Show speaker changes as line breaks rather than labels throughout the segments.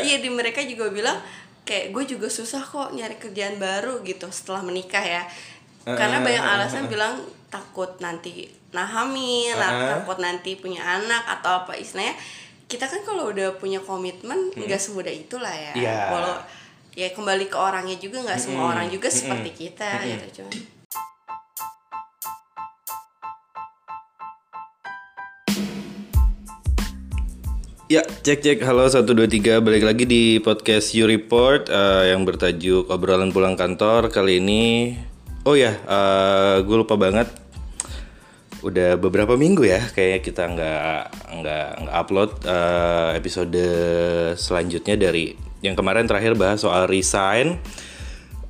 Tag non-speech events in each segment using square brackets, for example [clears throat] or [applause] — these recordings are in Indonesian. iya di mereka juga bilang kayak gue juga susah kok nyari kerjaan baru gitu setelah menikah ya karena
Eh,
banyak
eh, eh,
alasan bilang takut nanti nah hamil nah,
Eh.
takut nanti punya anak atau apa istilahnya kita kan kalau udah punya komitmen nggak semudah itulah ya
Iya.
walau ya kembali ke orangnya juga nggak semua
Mm-mm.
orang juga
Mm-mm.
seperti kita
Mm-mm.
gitu cuman
Ya, cek cek. Halo 123, balik lagi di podcast You Report eh, yang bertajuk obrolan pulang kantor kali ini. Oh ya, eh, gue lupa banget. Udah beberapa minggu ya, kayaknya kita nggak nggak nggak upload eh, episode selanjutnya dari yang kemarin terakhir bahas soal resign.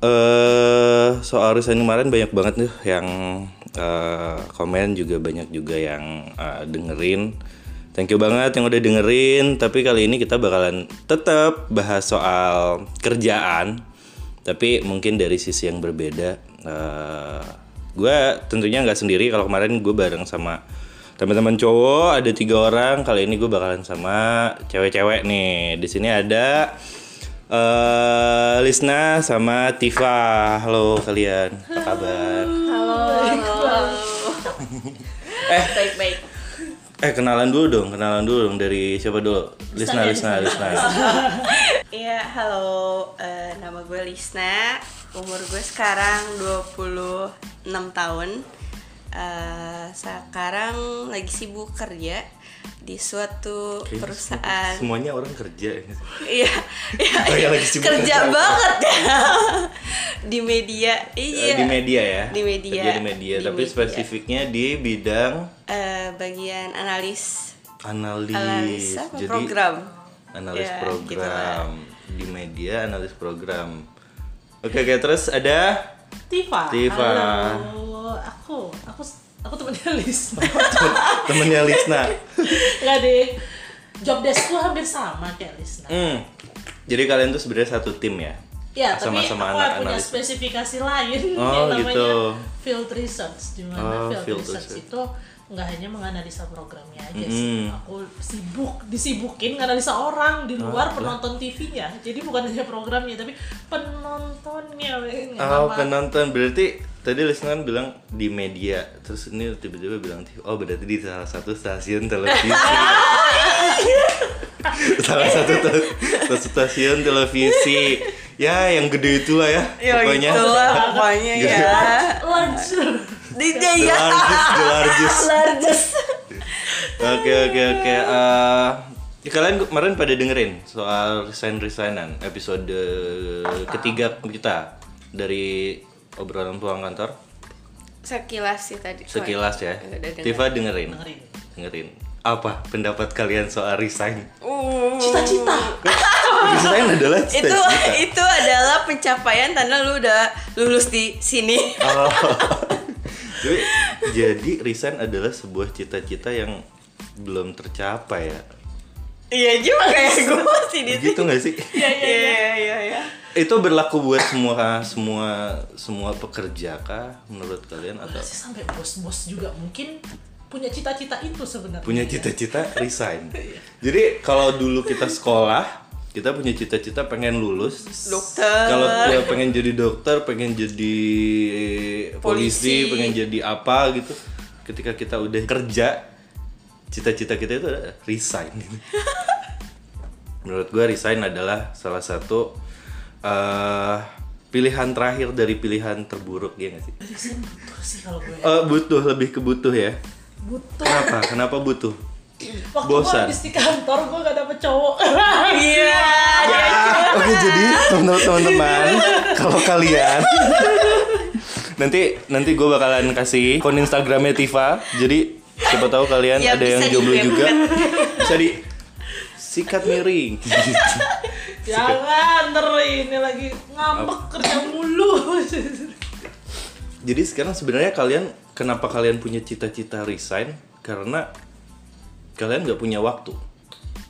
eh soal resign kemarin banyak banget tuh yang eh, komen juga banyak juga yang eh, dengerin. Thank you banget yang udah dengerin. Tapi kali ini kita bakalan tetap bahas soal kerjaan, tapi mungkin dari sisi yang berbeda. Eh, gue tentunya nggak sendiri. Kalau kemarin gue bareng sama teman-teman cowok ada tiga orang. Kali ini gue bakalan sama cewek-cewek nih. Di sini ada eh Lisna sama Tifa. Halo kalian, apa kabar?
baik-baik
Eh kenalan dulu dong, kenalan dulu dong dari siapa dulu? Lisna, Lisna, Lisna.
Iya, halo. Eh, nama gue Lisna. Umur gue sekarang 26 tahun. Eh, sekarang lagi sibuk kerja di suatu
Kayaknya
perusahaan.
semuanya orang kerja ya.
[laughs] Iya, iya,
Oh, iya,
iya.
lagi sibuk
kerja
kerja.
banget ya. [laughs] di media. Iya.
di media ya
Di media.
Kerja di media
Di
tapi
media.
spesifiknya di bidang
Eh, bagian analis
analis
analis apa? program.
analis
Ya, gitu
program di media analis program oke oke terus ada [laughs]
Tifa.
Tifa.
Halo, aku, aku, aku temennya [laughs] Lis.
temennya Lisna
Gak deh. Job deskku hampir sama kayak Lisna.
hmm. jadi kalian tuh sebenarnya satu tim ya
Ya, tapi
Sama-sama
aku
anak
punya
analis.
spesifikasi lain
Oh,
yang namanya
gitu.
field research. Di
Oh,
mana field,
field
research,
research.
itu nggak hanya menganalisa programnya aja
Mm.
sih. Aku sibuk, disibukin nganalisa orang di
Oh,
luar penonton TV-nya. Jadi bukan hanya programnya, tapi penontonnya. men.
Oh
Sama-
penonton berarti tadi listener kan bilang di media terus ini tiba-tiba bilang oh berarti di salah satu stasiun
[laughs]
televisi salah satu te- satu stasiun televisi ya yang gede itulah ya,
Ya
pokoknya
gitulah pokoknya
[laughs] Gitu.
ya.
Large.
Di
the
ya.
largest the
[laughs]
largest
Largest.
oke oke oke Eh, ya, kalian kemarin pada dengerin soal resign resignan episode ketiga kita dari obrolan pulang kantor
Sekilas sih tadi.
sekilas ya.
Udah dengerin.
Tifa dengerin.
Dengerin.
Dengerin. Apa pendapat kalian soal resign? [laughs]
Uh.
Cita-cita.
resign adalah
itu
cita-cita.
[laughs] itu adalah pencapaian tanda lu udah lulus di sini [laughs]
Oh. Jadi, jadi resign adalah sebuah cita-cita yang belum tercapai ya.
iya juga
[laughs]
ya gue masih di sini
Gitu nggak sih?
Iya, iya,
iya
iya.
iya iya
Itu berlaku buat semua semua semua pekerja kah menurut kalian atau
Pasti sampai bos-bos juga mungkin punya cita-cita itu sebenarnya.
punya cita-cita resign.
[laughs] Iya.
Jadi kalau dulu kita sekolah, kita punya cita-cita pengen lulus
Dokter.
Kalau dia pengen jadi dokter, pengen jadi eh, polisi,
Polisi.
pengen jadi apa gitu. Ketika kita udah kerja, cita-cita kita itu adalah resign. [laughs] Menurut gua resign adalah salah satu eh, pilihan terakhir dari pilihan terburuk ya nggak sih?
Resign butuh sih kalau gue.
Eh, butuh lebih ke butuh ya.
Butuh.
Kenapa? Kenapa butuh?
Waktu gue
Bosan.
habis di kantor gue gak dapet
[laughs]
cowok.
iya
Ah, Oke jadi teman-teman- teman-teman kalau kalian nanti nanti gue bakalan kasih akun Instagramnya Tifa jadi siapa tahu kalian
Ya,
ada yang
bisa
jomblo
di-DM.
juga bisa di sikat miring
Jangan ter ini lagi ngambek kerja mulu. [laughs]
jadi sekarang sebenarnya kalian kenapa kalian punya cita-cita resign karena kalian nggak punya waktu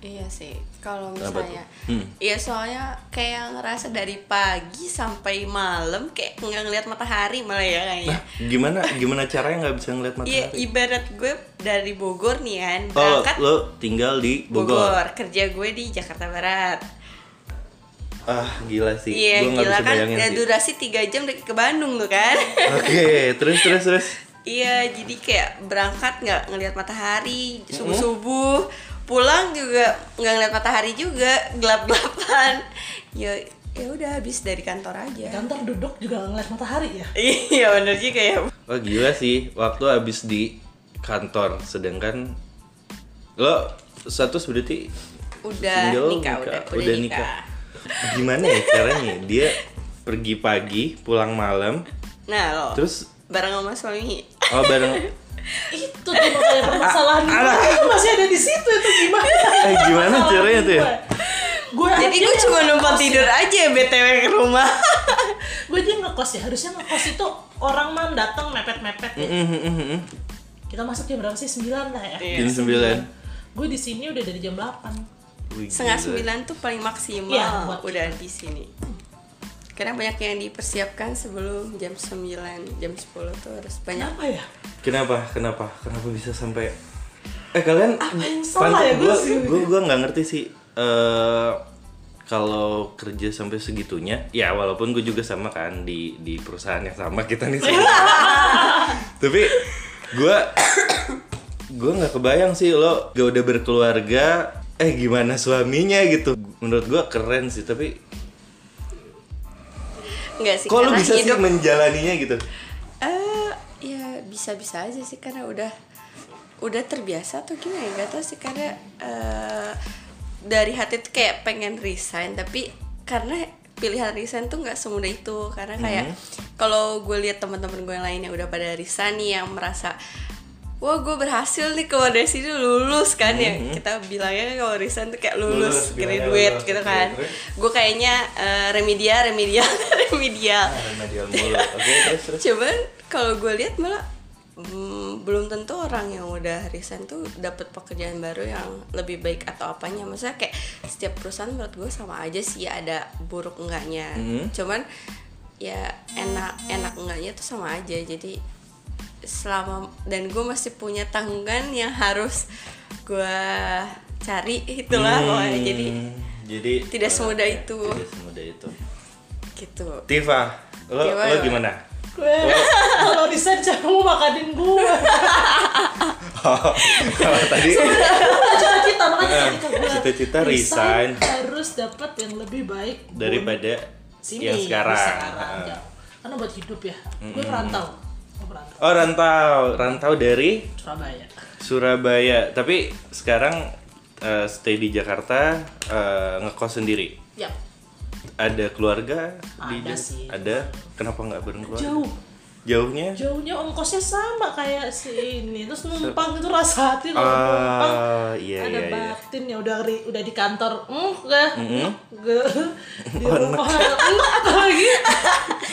iya sih kalau
Kenapa tuh?
misalnya
Hmm.
iya soalnya kayak ngerasa dari pagi sampai malam kayak nggak ngeliat matahari malah ya kayaknya
Nah, gimana gimana caranya nggak bisa ngeliat
Iya,
matahari
ibarat gue dari Bogor nih kan,
oh
berangkat
lo tinggal di Bogor,
Bogor, kerja gue di Jakarta Barat.
ah gila sih
Iya,
gue nggak
gila
bisa
kan
bayangin
ya,
sih
durasi 3 jam dari ke Bandung tuh kan.
[laughs] oke terus terus terus
Iya, jadi kayak berangkat nggak ngelihat matahari subuh subuh, pulang juga nggak ngelihat matahari juga gelap gelapan. Ya, ya udah habis dari kantor
Di
aja.
kantor duduk juga ngeliat matahari ya
Iya bener juga ya.
Wah Oh, gila sih, waktu habis di kantor, sedangkan lo status berarti
Udah
single,
nikah, udah, udah, nikah.
Gimana ya caranya? Dia pergi pagi, pulang malam,
Nah lo,
terus
bareng sama suami.
oh bareng
itu tuh makanya permasalahan gue itu masih ada di situ itu gimana
Ah, [laughs] Eh, gimana
Permasalahan
caranya tuh ya?
gue. gue
Jadi gue cuma numpang tidur aja btw ke rumah.
gue ya. aja ngekos ya harusnya ngekos itu orang mah datang mepet mepet ya kita masuk jam berapa sih 9 lah ya
jam sembilan.
gue di sini udah dari jam 8
Wih,
Setengah
gila.
sembilan tuh paling maksimal
Iya, buat
udah di sini. Karena banyak yang dipersiapkan sebelum jam 9, jam 10 tuh harus banyak
kenapa ya
Kenapa? Kenapa? Kenapa bisa sampai? Eh kalian?
Apa yang salah ya? Gua
gue?
sih.
Gue gue nggak ngerti sih. eh kalau kerja sampai segitunya, ya walaupun gue juga sama kan di di perusahaan yang sama kita nih.
[laughs]
sama. Tapi gue gue nggak kebayang sih lo gak udah berkeluarga. Eh gimana suaminya gitu? Menurut gue keren sih tapi
Enggak sih,
kok lo
karena
bisa sih
hidup
menjalaninya gitu?
eh ya bisa-bisa aja sih karena udah udah terbiasa tuh gimana ya nggak tahu sih karena eh, dari hati tuh kayak pengen resign tapi karena pilihan resign tuh nggak semudah itu karena kayak
Hmm.
kalau gue lihat teman-teman gue yang lain yang udah pada resign nih yang merasa wah gue berhasil nih kalau dari sini lulus kan ya kita bilangnya kalau resign tuh kayak lulus,
Hmm. Lulus, bilangnya
graduate
lulus,
gitu kan
graduate.
gue kayaknya eh, remedial remedial [laughs] remedial
Karena dia mulu. Oke terus terus.
cuman kalau gue lihat malah mm, belum tentu orang yang udah resign tuh dapat pekerjaan baru yang lebih baik atau apanya maksudnya kayak setiap perusahaan menurut gue sama aja sih ada buruk enggaknya cuman ya enak enak enggaknya tuh sama aja jadi selama dan gue masih punya tanggungan yang harus gue cari itulah pokoknya.
Hmm,
jadi
jadi
tidak
eh,
semudah
ya,
itu.
Tidak semudah itu.
gitu
Tifa, lo
Gimana?
lo gimana?
gue [laughs] kalau desain siapa mau makanin gue
Oh, Tadi
Gua cita-cita makanya ketika gue
Iya, Cita-cita resign.
harus dapat yang lebih baik
daripada
sini
yang sekarang.
ya. karena buat hidup ya gue perantau gue perantau
Oh rantau, rantau dari
Surabaya
Surabaya. Tapi sekarang eh, stay di Jakarta, eh, ngekos sendiri.
ya
Ada keluarga? di
Ada
Jak-
sih.
Ada. Kenapa nggak bareng keluarga?
jauh
Jauhnya?
jauhnya ongkosnya sama kayak si ini terus numpang itu rasa hati loh numpang
Ah, iya
ada
iya iya.
batin ya udah ri- udah di kantor mm, gue gue di
Oh,
rumah [laughs] mm, lagi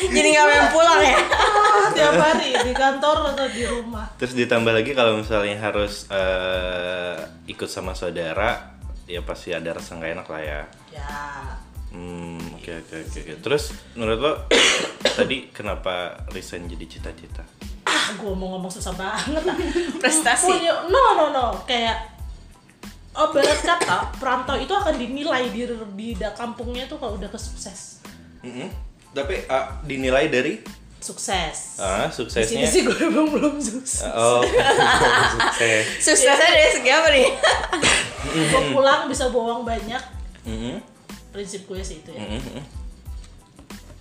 jadi nggak main pulang
[laughs]
ya
ah, tiap hari di kantor atau di rumah
Terus ditambah lagi kalau misalnya harus eh, ikut sama saudara, ya pasti ada rasa nggak enak lah ya.
ya
Hmm, oke oke oke. oke. Terus menurut lo [coughs] tadi kenapa resign jadi cita-cita?
ah gue mau ngomong susah banget ah.
Prestasi.
Punya- no no no kayak oh berat kata perantau itu akan dinilai di di da- kampungnya tuh kalau udah kesukses
Mm-mm. Tapi ah, dinilai dari
sukses
ah,
di sini
suksesnya.
sih gue [laughs] belum belum sukses
Oh, [laughs] sukses.
suksesnya dari segi apa nih
mm-hmm.
gue pulang bisa bohong banyak
Mm-mm,
prinsip gue sih itu ya
mm-mm, mm-mm,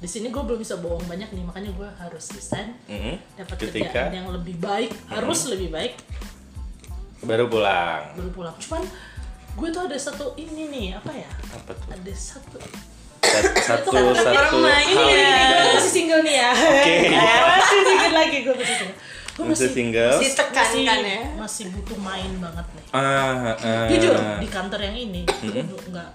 di sini gue belum bisa bohong banyak nih makanya gue harus resign
mm-mm.
dapat
Mm-hmm. Ketika Mm-hmm.
kerjaan yang lebih baik harus lebih baik
baru pulang.
baru pulang cuman gue tuh ada satu ini nih apa ya
Apa tuh?
ada satu
Sat-
kan
Satu satu,
orang main
hal
ya.
yang-
gue masih single nih ya
Oke.
Eh, [laughs] masih dikit lagi gue masih single gue
Masih single.
Ditekankan
masih-
ya.
masih butuh main banget nih
Ah, ah.
jujur di kantor yang ini nggak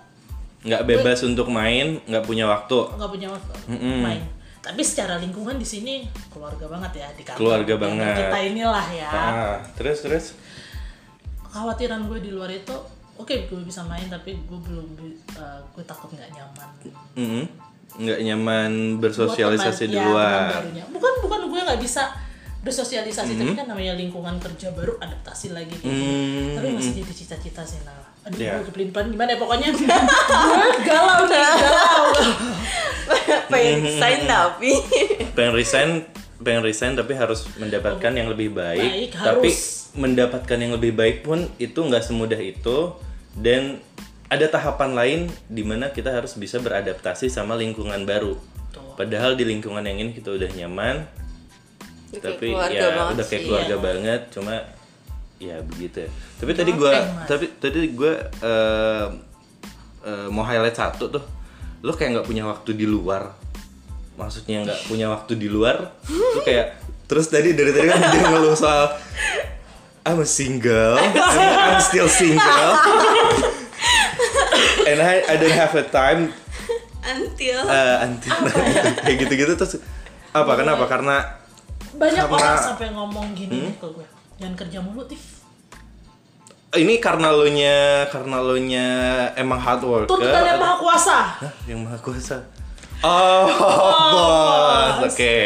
nggak bebas untuk main, nggak punya waktu.
nggak punya waktu
Mm-mm.
main tapi secara lingkungan di sini keluarga banget ya di kantor
Keluarga
Yang
banget.
kita inilah ya
Ah, terus terus.
khawatiran gue di luar itu oke gue bisa main tapi gue belum bi- eh, gue takut nggak nyaman
Mm-mm. nggak nyaman
Buat
bersosialisasi di
teman- ya, teman
luar.
barunya. bukan bukan gue nggak bisa bersosialisasi tapi kan namanya lingkungan kerja baru adaptasi lagi gitu.
Hmm.
tapi masih jadi cita-cita sih nah aduh
Iya.
gue kepelin gimana ya pokoknya gue galau nih galau
Nah. [laughs] pengen resign tapi
pengen resign pengen resign tapi harus mendapatkan yang lebih baik,
Baik,
tapi
harus.
mendapatkan yang lebih baik pun itu nggak semudah itu dan ada tahapan lain di mana kita harus bisa beradaptasi sama lingkungan baru padahal di lingkungan yang ini kita udah nyaman
Udah kayak
tapi
keluarga
ya
banget
udah kayak
sih. iya.
keluarga banget cuma ya begitu ya tapi tadi gua tapi tadi gua eh, eh, mau highlight satu tuh lo kayak nggak punya waktu di luar maksudnya nggak punya waktu di luar lu
[laughs]
kayak terus tadi dari tadi kan dia ngeluh soal I'm a
[laughs]
single I'm still single and I I don't have a time
until
eh, until [laughs] kayak gitu-gitu terus apa
Iya.
kenapa karena
[laughs] Banyak
Sama-
orang sampai ngomong gini
Hmm?
nih ke gue. Jangan kerja mulu, Tif.
ini karena lo nya karena lo nya emang hard worker
Tuntutan yang
atau-
maha kuasa.
Hah? yang maha kuasa oh, bos oke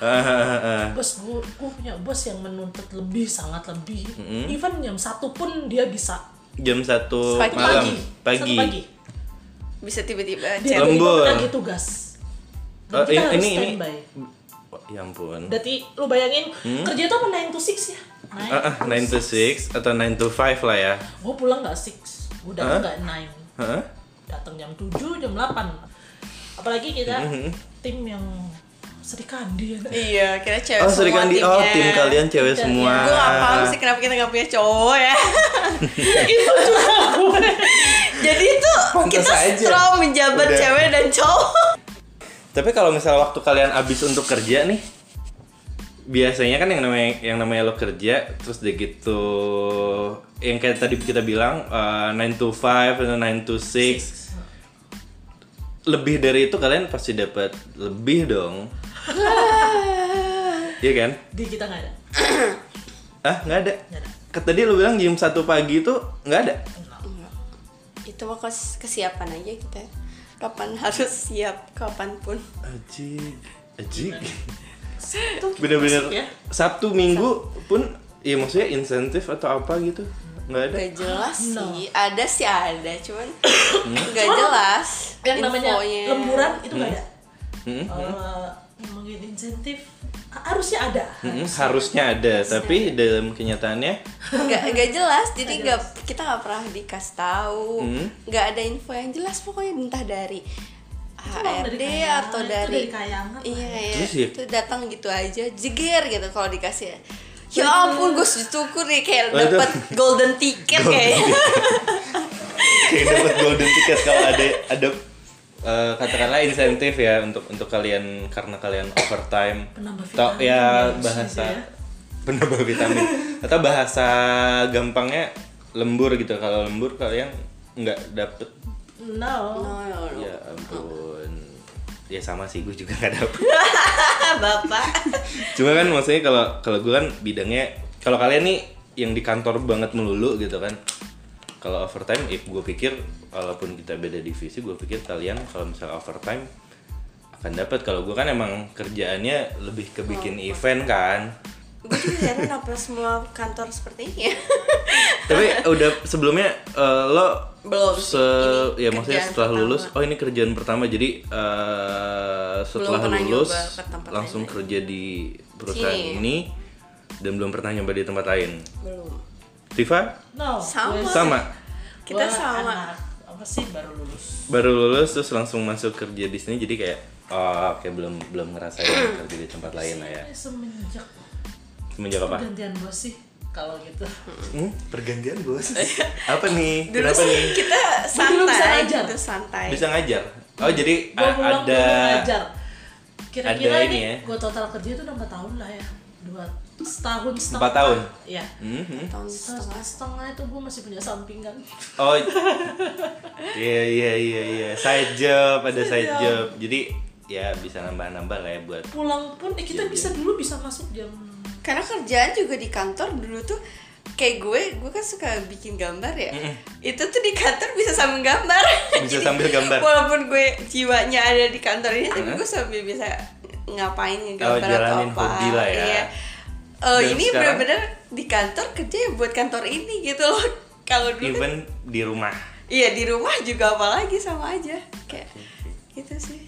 [laughs]
Bos, gue, gue punya bos yang menuntut lebih, sangat lebih.
Hmm.
Even jam satu pun dia bisa.
jam satu
Pagi.
malam
Satu pagi.
bisa tiba-tiba chat.
Dia
Lem-
tiba-tiba
Lembur.
menagih tugas. Dan
Oh,
kita
ini-
harus
ini- ini-
standby.
Wah, ya ampun
Berarti lu bayangin kerja itu apa 9 to 6 ya?
Hmm? Ah, ah, 9 to 6 atau 9 to 5 lah ya
Gue pulang nggak 6, gue datang nggak 9.
Hah?
Datang jam 7, jam 8. Apalagi kita
Hmm,
tim yang Sri Kandi ya. [laughs]
iya kira cewek
oh
semua ya.
sorry Kandi oh
timnya.
tim kalian Ah. cewek
Iya,
semua
gue gak paham sih kenapa kita gak punya cowok ya [laughs] jadi itu
Pantes
kita
aja.
selalu menjabat
Udah.
cewek dan cowok
tapi kalau misalnya waktu kalian habis untuk kerja nih biasanya kan yang namanya yang namanya lo kerja terus udah gitu yang kayak tadi kita bilang eh, 9 to 5 atau 9 to 6 lebih dari itu kalian pasti dapat lebih dong iya kan
Di kita nggak ada.
ah nggak ada
Nggak ada.
Ke- tadi lo bilang jam satu pagi itu nggak ada
itu mah kes- kesiapan aja kita kapan harus siap kapanpun
Ajik, ajik.
Satu kita
Bener-bener
masuk ya.
Sabtu Minggu pun, ya maksudnya insentif atau apa gitu nggak ada.
gak jelas
No.
sih ada sih ada cuman
Hmm?
gak jelas
Yang namanya
infonya.
lemburan itu nggak ada.
Hmm,
Eh, ngomongin insentif ha- harusnya ada.
Mm, harusnya ada, tapi dalam
[laughs]
kenyataannya
nggak nggak jelas jadi nggak kita nggak pernah dikasih tahu
Hmm?
nggak ada info yang jelas pokoknya entah dari
emang
HRD
dari kayangan,
atau
itu
dari
dari kayangan lah
iya
ya.
ya
Terus ya?
itu datang gitu aja jeger gitu kalau dikasih ya ampun gue syukur nih kayak
Waduh.
dapet golden ticket
[laughs]
[laughs]
kayaknya
kayak dapat golden ticket kalau ada ada eh, katakanlah insentif ya untuk untuk kalian karena kalian overtime.
Penambah
Atau,
vitamin ya
ya
harusnya
bahasa
itu ya.
penambah vitamin atau bahasa gampangnya lembur gitu. Kalau lembur kalian nggak dapet hmm.
No.
No, no, no.
ya ampun. Ya sama sih gue juga nggak dapet.
[laughs]
Ah, bapak
Cuma kan maksudnya kalau kalau gue kan bidangnya kalau kalian nih yang di kantor banget melulu gitu kan. Kalau overtime, ya gue pikir walaupun kita beda divisi, gue pikir kalian kalau misalnya overtime akan dapat. Kalau gue kan emang kerjaannya lebih ke bikin event kan.
gue juga heran apa semua kantor seperti ini ya
Tapi udah sebelumnya eh, lo
Belum sih,
se
ini
ya maksudnya
kerjaan
setelah
pertama.
lulus, oh ini kerjaan pertama. Jadi eh, setelah
pernah
lulus
nyoba ke tempat
langsung
lain.
kerja di perusahaan
Sini.
ini dan belum pernah nyoba di tempat lain.
belum
Tifa
No.
Sama.
Gue-
sama
kita
gue
sama
anak apa sih baru lulus.
baru lulus terus langsung masuk kerja di sini jadi kayak oh kayak belum belum ngerasain
[clears throat]
kerja di tempat lain lah ya
Eh, Semenjak
semenjak apa
pergantian bos sih kalau gitu.
hmm? pergantian
[laughs]
bos apa
Iya.
nih
dulu
kenapa
sih
nih
kita
Dulu bisa
santai
ngajar.
gitu santai
bisa ngajar oh jadi
Gua
a-
pulang
ada
dulu ngajar. Kira-kira
ada ini
ini
ya.
gue total kerja itu udah 4 tahun lah ya. Dua setahun setengah.
Empat tahun?
Iya.
Hmm, hmm.
tahun
Setengah
setengah
setengah itu gue masih punya sampingan.
oh iya iya iya iya side job ada side job jadi ya bisa nambah nambah lah ya buat
Pulang pun eh kita
Iya,
bisa dulu bisa masuk jam
karena kerjaan juga di kantor dulu tuh kayak gue gue kan suka bikin gambar ya itu tuh di kantor bisa sambil gambar
Bisa sambil gambar.
walaupun gue jiwanya ada di kantor ini tapi gue sambil bisa ngapain ya, gambar atau
Oh, jalanin
apa
hobi lah ya.
Iya. Oh,
Dan
ini
sekarang-
benar-benar di kantor kerja ya buat kantor ini gitu loh [laughs] kalau dulu kan-
even di rumah
iya di rumah juga apalagi sama aja kayak gitu sih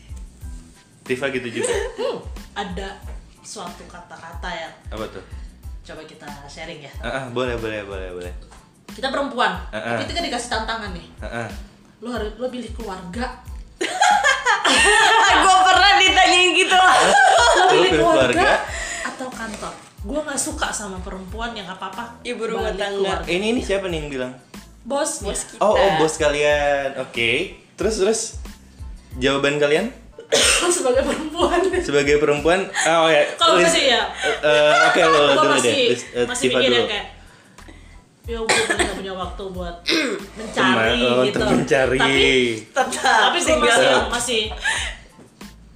Tifa gitu juga.
Hmm, ada suatu kata-kata yang
Apa tuh?
coba kita sharing ya.
Ah, ah, boleh boleh boleh boleh.
Kita perempuan,
Ah, ah.
ketika dikasih tantangan nih,
Ah, ah.
lo harus lo pilih
[laughs]
keluarga,
gue pernah ditanyain gitu
lo
Lo
pilih
pilih keluarga.
keluarga atau kantor. Gue nggak suka sama perempuan yang apa apa
Ibu rumah tangga. Iya.
Ini ini siapa nih yang bilang?
Bosnya.
Bos kita.
Oh, oh bos kalian. Oke. Terus terus jawaban kalian
sebagai
[laughs]
perempuan.
sebagai perempuan ah, oh ya.
Kalau gue
Liz-
sih ya,
Eh, eh, oke lo
gue
dulu
masih
deh. Liz- eh,
masih
Tifa
mikir
dulu.
yang kayak ya gue gak punya waktu
[clears throat]
buat mencari
Teman- oh,
gitu
untuk mencari.
tapi
tetap
tapi gue
single.
masih
Tetap.
masih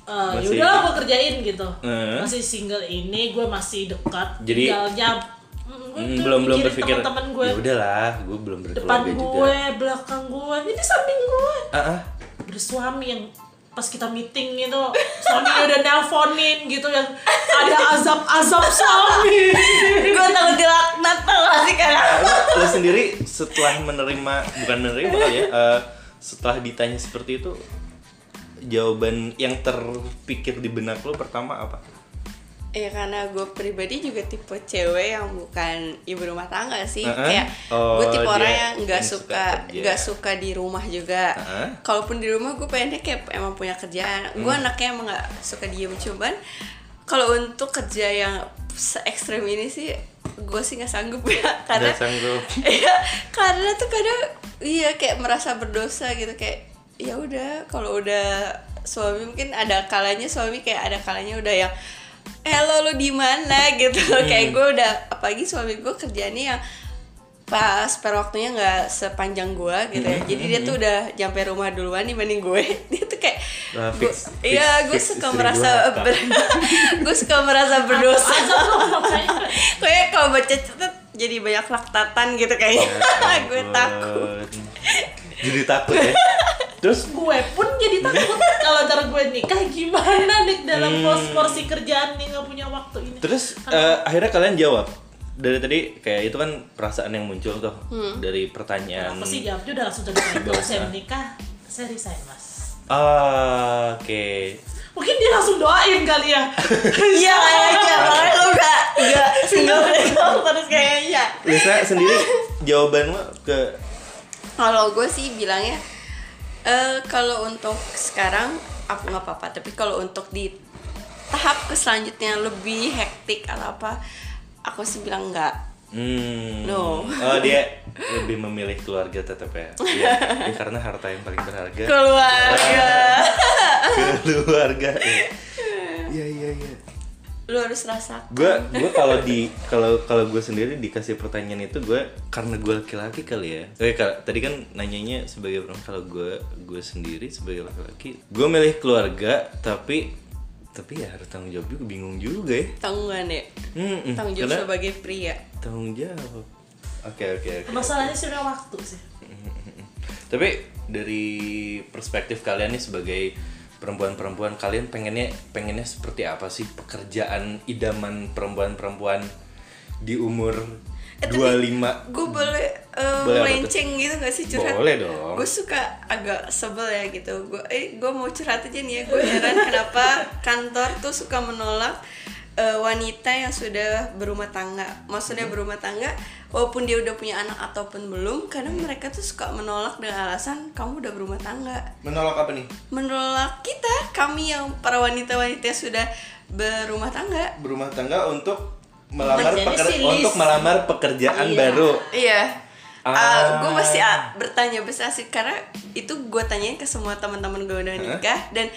eh
Masih.
yaudah gue kerjain gitu
Eh.
masih single ini gue masih dekat
Jadi-
tinggalnya Mm,
Hmm, belum belum berpikir.
teman gue
Ya gitu udahlah, gue belum berkeluarga
depan gue
juga.
belakang gue ini samping gue
Ah, ah.
ada suami yang pas kita meeting gitu suaminya udah nelponin gitu yang ada azab-azab
[laughs]
suami
gue takut dilaknat tau gak sih karena
lo sendiri setelah menerima bukan menerima kali ya eh, setelah ditanya seperti itu jawaban yang terpikir di benak lo pertama apa
ya karena gue pribadi juga tipe cewek yang bukan ibu rumah tangga sih
Heeh.
kayak
Oh,
gue tipe
dia
orang yang nggak
yang suka
suka
kerja.
nggak suka di rumah juga
Heeh. Hmm.
kalaupun di rumah gue pengennya kayak emang punya kerjaan gue anaknya emang nggak suka diem cuman kalau untuk kerja yang se ekstrem ini sih gue sih nggak sanggup [laughs] ya karena
Nggak
[laughs]
sanggup.
Iya, karena tuh kadang iya kayak merasa berdosa gitu kayak ya udah kalau udah suami mungkin ada kalanya suami kayak ada kalanya udah yang hello lu di mana gitu
Hmm.
kayak gue udah apalagi suami gue kerjaannya yang pas per waktunya nggak sepanjang gue gitu ya
Hmm.
jadi dia tuh udah nyampe rumah duluan dibanding gue [laughs] dia tuh kayak
Nah,
gua-
fix- fix-
iya gue
fix
suka
istri
merasa
gua, Kak.
ber, [laughs] gue suka merasa berdosa
azab loh makanya
kayak kalau baca cetet jadi banyak laktatan gitu kayaknya
Oh,
[laughs] gue takut
Ya jadi takut ya terus
gue pun jadi takut
[laughs]
kalau ntar gue nikah gimana nih dalam
Hmm.
pos porsi kerjaan nih nggak punya waktu ini
terus eh, akhirnya kalian jawab dari tadi kayak itu kan perasaan yang muncul tuh dari pertanyaan
apa sih jawabnya udah
[laughs]
langsung jadi
Nggak
kalau saya
usah.
menikah saya resign mas
Ah, oke
mungkin dia langsung doain kali ya
iya kayaknya makanya lo udah
[laughs]
nggak
Iya.
single single terus kayaknya
Lisa sendiri jawaban lo ke
kalau gue sih bilangnya eh kalau untuk sekarang aku nggak apa-apa tapi kalau untuk di tahap ke selanjutnya lebih hektik atau apa aku sih bilang enggak
Hmm.
No.
Oh dia lebih memilih keluarga tetap ya. Iya. Ya, karena harta yang paling berharga [laughs]
keluarga
keluarga. Iya. Iya iya iya.
lu harus rasa
Gue gue kalau di kalau kalau gue sendiri dikasih pertanyaan itu gue karena gue laki-laki kali ya. Oke Kak, tadi kan nanyanya sebagai perempuan kalau gue gue sendiri sebagai laki-laki gue milih keluarga tapi tapi ya harus tanggung jawab juga bingung juga ya.
tanggungan ya
Hmm, hmm.
tanggung jawab
Karena-
sebagai pria
Tanggung jawab. Oke oke oke.
masalahnya sih memang waktu sih
Tapi dari perspektif kalian nih sebagai perempuan-perempuan kalian pengennya pengennya seperti apa sih pekerjaan idaman perempuan-perempuan di umur
Eh, tapi
25
gue boleh eh,
Boleh apa
melenceng gitu gak sih curhat?
Boleh dong.
Gue suka agak sebel ya gitu. Gue eh gue mau curhat aja nih ya. Gue heran [laughs] kenapa kantor tuh suka menolak eh, wanita yang sudah berumah tangga. Maksudnya
Mm-hmm.
berumah tangga walaupun dia udah punya anak ataupun belum, kadang
Mm-hmm.
mereka tuh suka menolak dengan alasan kamu udah berumah tangga
menolak apa nih?
menolak kita kami yang para wanita-wanita yang sudah berumah tangga
Berumah tangga untuk melamar
Kerjanya
peker-
sih, Liz.
untuk melamar pekerjaan
Iya.
baru.
Iya.
Ah.
gue masih ah, bertanya besar sih karena itu gue tanyain ke semua teman-teman gue udah nikah dan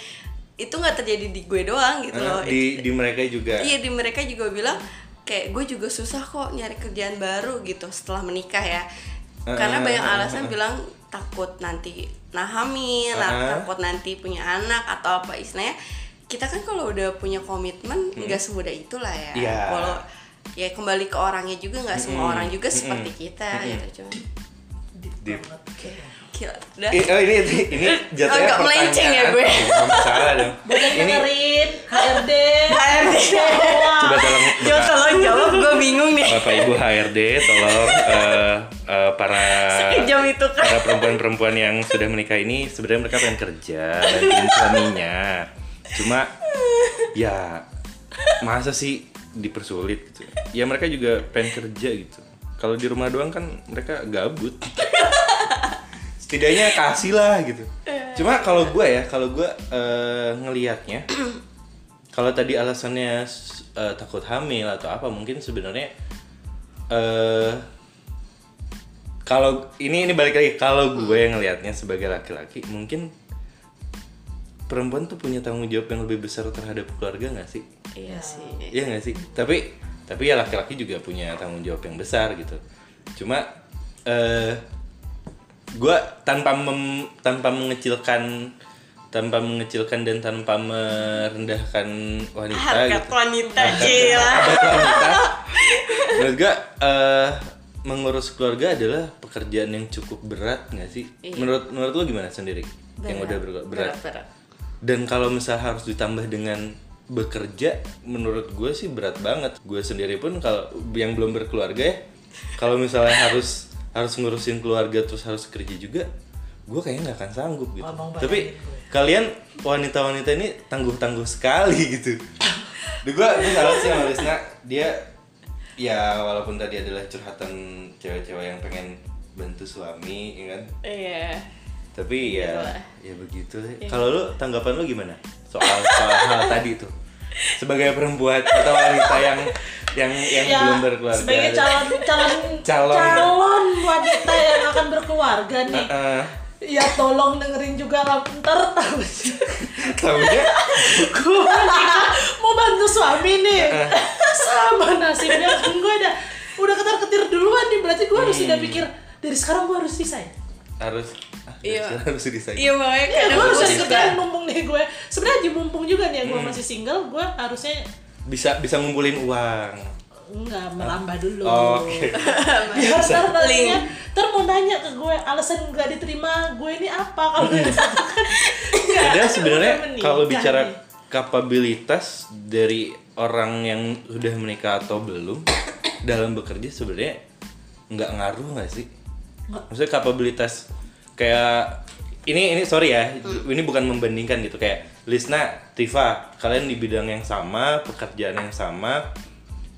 itu nggak terjadi di gue doang gitu
Nah,
loh.
di di mereka juga.
Iya di mereka juga bilang kayak gue juga susah kok nyari kerjaan baru gitu setelah menikah ya. Karena banyak alasan bilang takut nanti nah hamil, lah,
Uh-uh.
takut nanti punya anak atau apa istilahnya. Kita kan kalau udah punya komitmen nggak semudah itulah ya.
Hmm. Iya. Hmm.
Walau ya kembali ke orangnya juga nggak semua orang juga seperti kita gitu cuman
Di-
gila udah [laughs]
Eh, oh, ini ini, ini jatuhnya
Agak melenceng ya gue.
pertanyaan. Oh, Salah dong.
boleh
Ini [laughs]
dengerin HRD
coba tolong
Jo tolong jawab gue bingung nih
Bapak Ibu HRD tolong eh, eh, para
[laughs] sekejam itu kan
para perempuan-perempuan yang sudah menikah ini sebenarnya mereka pengen kerja bantuin suaminya. Cuma ya masa sih dipersulit gitu ya mereka juga pengen kerja gitu kalau di rumah doang kan mereka gabut setidaknya kasih lah gitu cuma kalau gue ya kalau gue eh, ngelihatnya kalau tadi alasannya s- eh, takut hamil atau apa mungkin sebenarnya eh kalau ini ini balik lagi kalau gue yang ngelihatnya sebagai laki-laki mungkin perempuan tuh punya tanggung jawab yang lebih besar terhadap keluarga nggak sih
iya sih
Iya nggak sih? Tapi tapi ya laki-laki juga punya tanggung jawab yang besar gitu. Cuma eh gue tanpa mem- tanpa mengecilkan tanpa mengecilkan dan tanpa merendahkan wanita
harkat
gitu.
Iya,
wanita gila
Harkat wanita. Menurut gue eh, mengurus keluarga adalah pekerjaan yang cukup berat nggak sih?
Iya.
Menurut menurut lo gimana sendiri? Yang udah ber- berat.
berat.
Dan kalau misal harus ditambah dengan bekerja, menurut gue sih berat banget. Gue sendiri pun kalau yang belum berkeluarga ya, kalau misalnya harus harus ngurusin keluarga terus harus kerja juga, gue kayaknya nggak akan sanggup gitu.
Abang bayangin
Tapi kalian wanita-wanita ini tangguh-tangguh sekali gitu. Duh, gue gue salut sih sama Lisna. Dia ya walaupun tadi adalah curhatan cewek-cewek yang pengen bantu suami, ya kan?
iya
tapi ya
Itulah.
ya begitu kalau lu tanggapan lu gimana soal soal hal tadi tuh sebagai perempuan atau wanita yang yang yang
Ya,
belum berkeluarga
sebagai calon calon
Calon.
calon wanita yang akan berkeluarga nih
Heeh.
ya tolong dengerin juga lah ntar [laughs] tahu
Taunya,
gue nikah mau bantu suami
[laughs]
nih sama nasibnya kan gue udah udah ketar ketir duluan nih berarti gue
Hmm.
harus tidak pikir dari sekarang gue harus resign
harus ah,
Iya.
dasar harus disayang
iya makanya
ya
kadang
gue harus
gua
cari
suka-
kerjaan mumpung nih gue sebenarnya aja mumpung juga nih
Hmm.
gue masih single gue harusnya
bisa bisa ngumpulin uang
nggak merambah dulu
Ah. oke
[laughs] biar ntar nantinya
Link.
ntar mau nanya ke gue alasan nggak diterima gue ini apa kalau gue katakan nggak,
Hmm. Padahal sebenarnya
Iya. udah menikah
kalau bicara
nih.
kapabilitas dari orang yang sudah menikah atau belum dalam bekerja sebenarnya nggak ngaruh nggak sih? Maksudnya kapabilitas kayak ini ini sorry ya,
Hmm.
ini bukan membandingkan gitu kayak Lisna, Tifa, kalian di bidang yang sama, pekerjaan yang sama,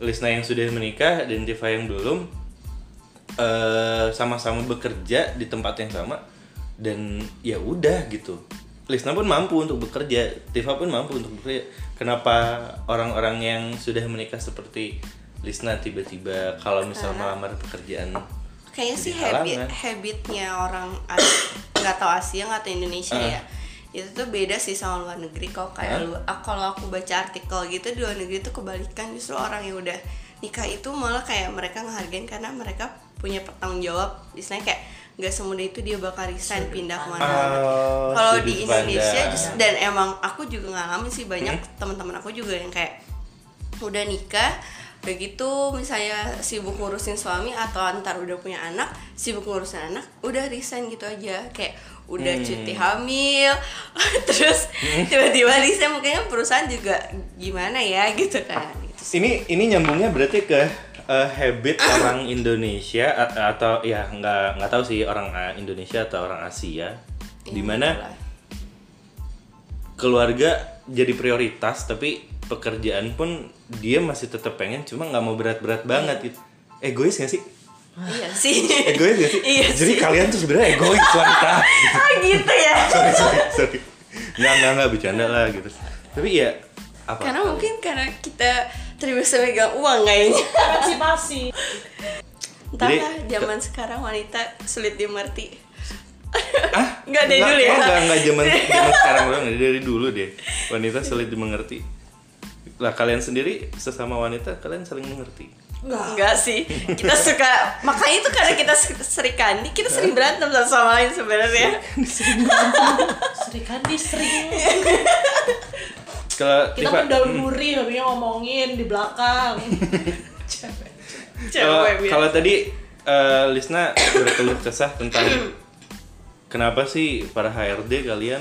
Lisna yang sudah menikah dan Tifa yang belum eh, sama-sama bekerja di tempat yang sama dan ya udah gitu. Lisna pun mampu untuk bekerja, Tifa pun mampu untuk bekerja. Kenapa orang-orang yang sudah menikah seperti Lisna tiba-tiba kalau misal melamar pekerjaan
kayaknya sih
jadi halangan.
habit habitnya orang As- [coughs] nggak tahu Asia nggak tahu Indonesia ya itu tuh beda sih sama luar negeri kok kayak lu ah, kalau aku baca artikel gitu di luar negeri tuh kebalikan justru orang yang udah nikah itu malah kayak mereka ngehargain karena mereka punya pertanggung jawab istilahnya kayak nggak semudah itu dia bakal resign pindah kemana
Oh,
kalau
sudut
di Indonesia
pandang.
just- dan emang aku juga ngalamin sih banyak
Hmm.
teman-teman aku juga yang kayak udah nikah udah gitu misalnya sibuk ngurusin suami atau antar udah punya anak sibuk ngurusin anak udah resign gitu aja kayak udah
Hmm.
cuti hamil [laughs] terus tiba-tiba resign mungkin perusahaan juga gimana ya gitu kan gitu sih.
ini ini nyambungnya berarti ke eh, habit orang Indonesia a- atau ya nggak nggak tahu sih orang eh, Indonesia atau orang Asia
Iya,
di mana
Itulah.
keluarga jadi prioritas tapi pekerjaan pun dia masih tetap pengen cuma nggak mau berat-berat banget gitu egois gak sih
iya sih
egois gak sih
[laughs] Iya
jadi kalian tuh sebenarnya egois
[laughs]
wanita
Ah, gitu ya
sorry sorry sorry nggak nggak nggak bercanda lah gitu tapi ya apa
karena mungkin karena kita terbiasa megang uang kayaknya
emansipasi
entahlah
[laughs] Jadi-
zaman sekarang wanita sulit dimengerti
ah
Nggak deh dulu ya.
nggak nggak
[laughs]
zaman zaman sekarang doang deh, dari dulu deh wanita sulit dimengerti lah kalian sendiri sesama wanita kalian saling mengerti
Enggak sih, kita suka makanya itu karena kita ser- serikandi, kita sering berantem satu sama lain
[laughs]
sebenarnya.
Sri Kandi sering
kalau
kita
Tifa,
mendahului tapi ngomongin di belakang
Cewek
kalau
biasa.
Oh, kalau tadi eh, Lisna berkeluh kesah tentang kenapa sih para HRD kalian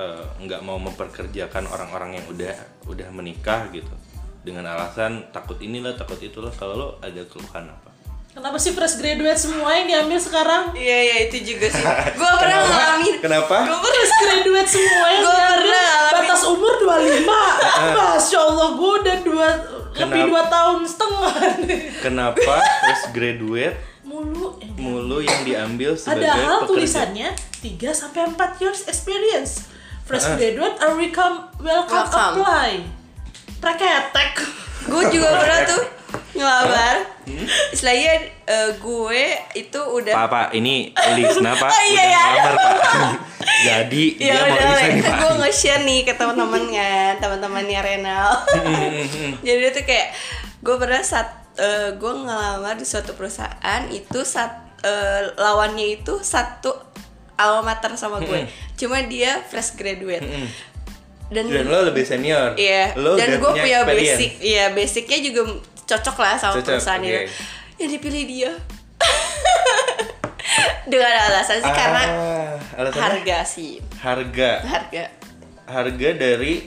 eh, nggak mau memperkerjakan orang-orang yang udah udah menikah gitu dengan alasan takut inilah takut itulah kalau lo ada keluhan apa
kenapa sih fresh graduate semua yang diambil sekarang
Iya iya itu juga
[laughs]
sih. Gua pernah ngalamin.
kenapa
Gua pernah
fresh graduate semua yang
Gua
diambil
pernah ngalamin.
batas umur 25 Masya Allah, gue udah dua, lebih
Eh. Kenapa?
dua tahun setengah nih.
Kenapa fresh graduate
Mulu, eh,
mulu yang diambil sebagai
Padahal
pekerja?
tulisannya 3 sampai 4 years experience.
Eh.
Fresh graduate are welcome, welcome
Welcome.
apply. Preketek.
gue juga pernah tuh ngelamar
Hmm?
istilahnya eh, gue itu udah
Pak, Pak, ini Lisna, Pak.
Oh, iya,
Udah
iya.
ngelamar, Pak. [laughs] Jadi
ya
dia mau
udah
resign nih, Pak.
gue nge-share nih ke teman-teman kan teman-temannya Renal [laughs] jadi itu kayak gue pernah saat gue ngelamar di suatu perusahaan itu saat eh, lawannya itu satu alma mater sama gue cuma dia fresh graduate dan
Dan lo lebih senior.
Iya.
Lo
Dan
udah
gue punya
experience.
basic, iya basicnya juga m- cocok lah sama
Cocok,
perusahaan
oke.
itu. Yang dipilih dia. [laughs] Dengan alasan sih karena
Ah, alasannya?
harga sih,
harga
harga.
harga dari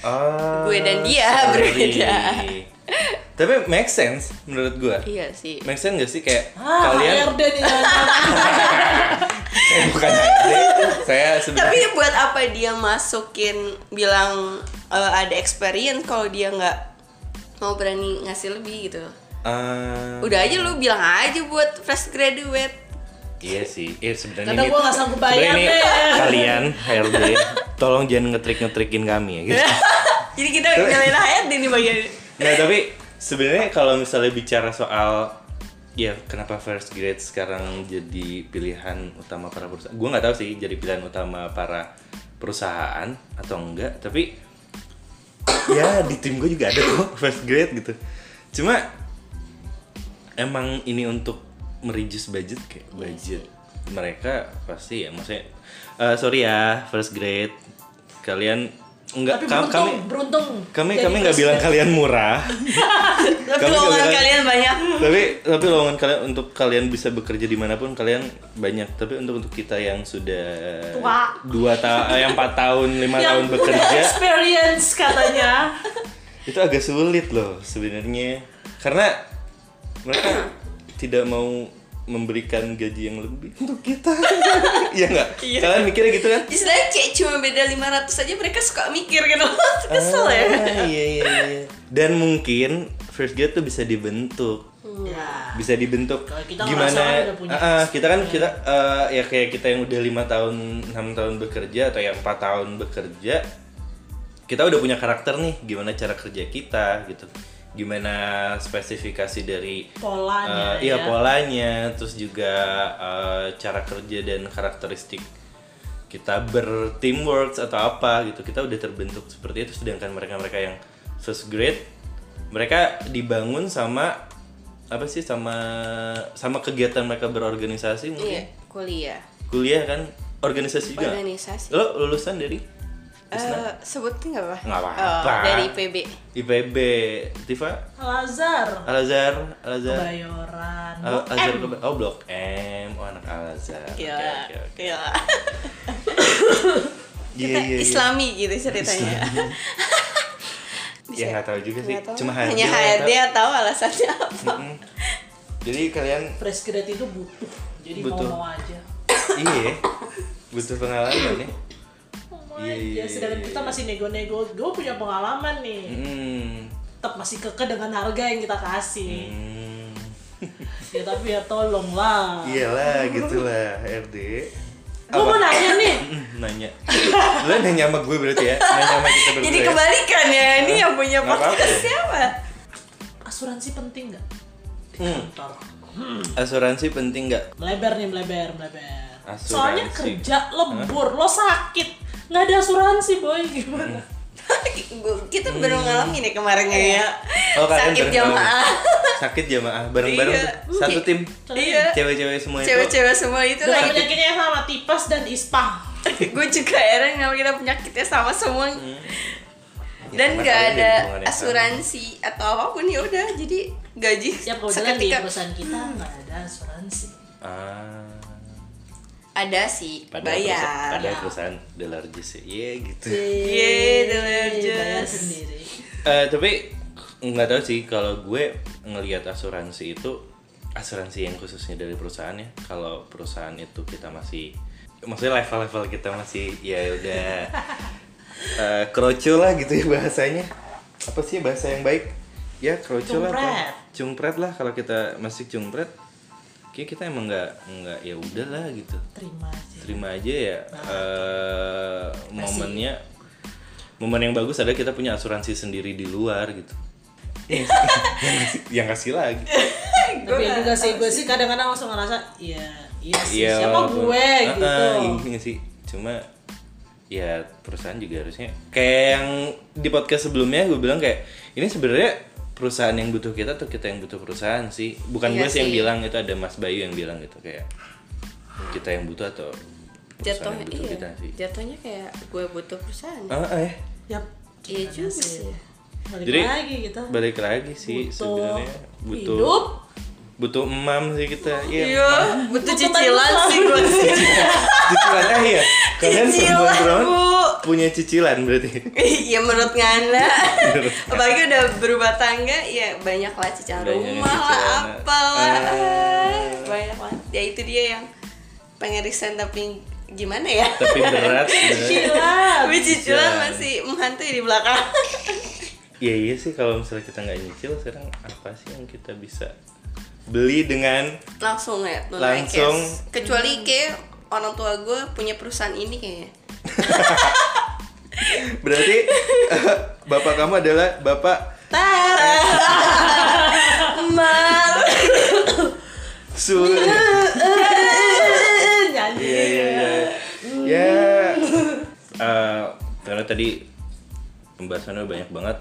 ah,
Gue dan dia
salary.
berbeda.
Tapi make sense menurut gue.
Iya sih.
Make sense gak sih kayak
Ah,
kalian
HRD nih.
[laughs] Eh, bukan HRD.
[laughs]
saya
Tapi
sebenarnya
buat apa dia masukin bilang eh, ada experience kalau dia nggak mau berani ngasih lebih gitu.
Ah,
Udah aja lu bilang aja buat fresh graduate.
[laughs] Iya sih. Iya sebenarnya
Karena
ini-
gua nggak sanggup bayar,
sebenarnya ini
Bel.
Kalian HRD tolong jangan ngetrik-ngetrikin kami ya gitu.
Jadi kita nyalain HRD nih bagian ini.
Nah tapi sebenarnya kalau misalnya bicara soal ya kenapa first grade sekarang jadi pilihan utama para perusahaan, gue nggak tahu sih jadi pilihan utama para perusahaan atau enggak, tapi ya di tim gue juga ada kok [laughs] first grade gitu. Cuma emang ini untuk merijus budget kayak budget mereka pasti ya maksudnya eh, sorry ya first grade kalian enggak
Tapi
kam-
beruntung,
kami
beruntung.
kami
Jadi
kami nggak
fresh
bilang kalian murah
Tapi
Kami
lowongan
kebetulan-
kalian banyak.
tapi tapi lowongan kalian untuk kalian bisa bekerja dimanapun kalian banyak tapi untuk untuk kita yang sudah
Tua.
dua tahun yang empat tahun lima
yang
tahun
udah
bekerja
experience katanya.
itu agak sulit loh sebenarnya karena mereka tidak mau memberikan gaji yang lebih untuk kita [laughs] iya nggak
Iya.
kalian mikirnya gitu kan
Istilahnya cek cuma beda 500 aja mereka suka mikir gitu [laughs] Kesel ya
Ah, iya, iya, iya. dan mungkin first grade tuh bisa dibentuk
ya.
bisa dibentuk
Kalau kita ngerasa kan
gimana
udah punya. Iya.
Ah, ah, kita kan kita eh, ya kayak kita yang udah lima tahun enam tahun bekerja atau yang empat tahun bekerja kita udah punya karakter nih gimana cara kerja kita gitu gimana spesifikasi dari
Polanya,
eh, iya
ya.
polanya terus juga eh, cara kerja dan karakteristik kita berteamwork atau apa gitu kita udah terbentuk seperti itu sedangkan mereka-mereka yang first grade mereka dibangun sama apa sih sama sama kegiatan mereka
Iya,
berorganisasi mungkin
kuliah
kuliah kan organisasi juga nggak?
Organisasi
lo lulusan dari
Eh, Sebutin gak apa?
Nggak apa-apa. Iya,
Oh, Dari IPB
IPB Tifa
Lazar.
Alazar Alazar
Bayoran.
Al-
Blok
Alazar
M.
Kebe- oh blok M oh anak Alazar Oke,
Gila,
oke, oke.
gila.
Iya,
Kita
iya, iya.
Islami gitu ceritanya
ya nggak tahu juga sih
Nggak tahu.
cuma HRD
Hanya
lah,
HRD
Kak.
atau alasannya
[laughs]
apa
Mm-mm. jadi kalian
Fresh grade itu butuh. Jadi
Butuh.
mau-mau aja.
iya ya, butuh pengalaman ya
Mau-mau
Iya, iya,
aja. Sedangkan
iya,
kita
iya.
masih nego-nego. Gue punya pengalaman nih.
Hmm.
tetap masih keke dengan harga yang kita kasih
Hmm.
ya tapi ya tolonglah
Iya. iyalah gitulah HRD
gue mau nanya nih
Mm, nanya lo nanya sama gue berarti ya nanya sama kita berdua
Jadi
ya?
kebalikan ya, ini yang punya
"Eh, Nggak apa-apa.
podcast siapa? [laughs]
asuransi penting nggak
Hmm.
Bentar.
asuransi penting nggak
melebar nih melebar melebar
Asuransi.
soalnya kerja lembur lo sakit nggak ada asuransi boy gimana
Hmm.
Gua- Kita baru ngalamin ya kemarin ya
Oh, kalian
Sakit
bareng-bareng.
jamaah
sakit jamaah bareng-bareng
Iya.
tuh. satu tim
Iya
cewek-cewek semua itu
Cewek-cewek semua itu
dengan
lagi
penyakitnya yang sama tipes dan ispa
gue juga heran kenapa kita penyakitnya sama semua
Hmm. Ya,
dan
karena
nggak
kalian
ada
jadi Ah. hubungan yang
asuransi atau apapun ya udah jadi gaji
ya kebetulan
kan?
di perusahaan kita nggak ada asuransi
sama. ah
ada sih
Padahal perusahaan,
bayar
padahal perusahaan the largest ya Iya, gitu
Yeay, the
bayar
largest.
sendiri
Eh, tapi nggak tahu sih kalau gue ngelihat asuransi itu asuransi yang khususnya dari perusahaan ya kalau perusahaan itu kita masih maksudnya level-level kita masih ya udah eh, kroco lah gitu ya bahasanya apa sih bahasa yang baik ya kroco lah apa?
Cungpret.
cungpret lah kalau kita masih cungpret kayak kita emang nggak nggak ya udahlah gitu
terima aja
terima aja ya eh, momennya momen yang bagus adalah kita punya asuransi sendiri di luar gitu Eh, [laughs] yang kasih, yang kasih lagi
tapi ya juga sih gue sih kadang-kadang langsung ngerasa iya iya sih
Iya,
siapa
walaupun-
gue
Ah,
gitu
ah, ini sih cuma ya perusahaan juga harusnya kayak yang di podcast sebelumnya gue bilang kayak ini sebenarnya perusahaan yang butuh kita atau kita yang butuh perusahaan sih bukan
Iya
gue sih yang
sih.
bilang itu ada Mas Bayu yang bilang gitu kayak kita yang butuh atau perusahaan
jatuhnya
yang butuh
iya
kita sih
jatuhnya kayak gue butuh perusahaan
Ah, ah, ya.
Yap,
iya juga
sih.
sih
balik
Jadi,
lagi gitu
balik lagi sih
Butuh
sebenarnya butuh
hidup.
butuh emam sih kita iya
iya butuh cicilan
bantuan.
sih gue sih
cicilan ah iya kalian
Cicilan,
perempuan perempuan
Bu.
punya cicilan berarti
[laughs] Iya menurut
[laughs]
Ngana Apalagi udah berubah tangga Ya banyak lah cicilan
Banyak yang
rumah lah
cicilan.
Apalah
Ah.
Banyak lah Ya itu dia yang pengen resign tapi gimana ya
tapi berat
Iya.
sebenarnya
Gila.
[laughs] Tapi cicilan
Cicilan.
masih menghantui di belakang [laughs]
Iya iya sih kalau misalnya kita nggak nyicil sekarang apa sih yang kita bisa beli dengan
Langsung ya tunai cash.
Langsung.
Kecuali kayak orang tua gue punya perusahaan ini kayaknya
berarti [laughs] eh, bapak kamu adalah bapak
[laughs] Mar
[laughs] Sul.
nyanyi
Iya iya iya. Ya. eh, karena tadi pembahasannya banyak banget.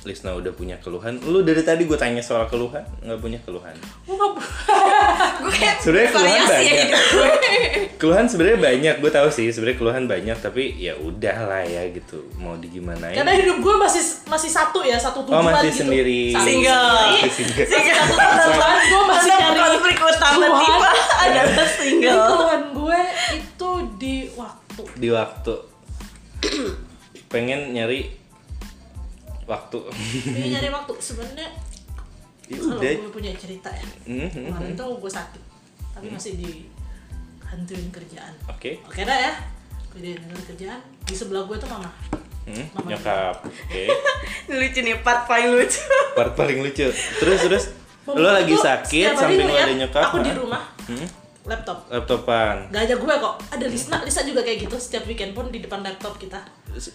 Lisna udah punya keluhan. Lu dari tadi gue tanya soal keluhan, nggak punya keluhan.
Gue kayak
Sebenarnya keluhan
variasi ya
banyak. [laughs]
hidup gue.
Keluhan sebenarnya banyak, gue tahu sih. Sebenarnya keluhan banyak, tapi ya udahlah ya gitu. Mau digimanain?
karena hidup gue masih masih satu ya satu
Oh
tujuan
masih
gitu.
sendiri.
Single.
Masih single.
satu tujuan gue masih
Karena
cari
konflik utama
Tuhan.
[laughs] tiba adalah single
tujuan gue itu di waktu
di waktu pengen nyari waktu [laughs]
Ini nyari waktu sebenarnya
ya
kalau
udah
gue punya cerita ya
Mhm.
kemarin tuh gue sakit tapi masih dihantuin kerjaan
oke
oke dah ya gue dihantuin kerjaan di sebelah gue tuh mama
Hmm,
Mama.
nyokap oke
lucu nih part paling lucu
part paling lucu terus terus
Mama
lo
gue
lagi
tuh
sakit
setiap hari
samping lo
ngeliat
ada nyokap
aku di
ah?
rumah
Hmm?
laptop
laptopan
Gak aja gue kok, ada Lisna, Lisa juga kayak gitu setiap weekend pun di depan laptop kita
S-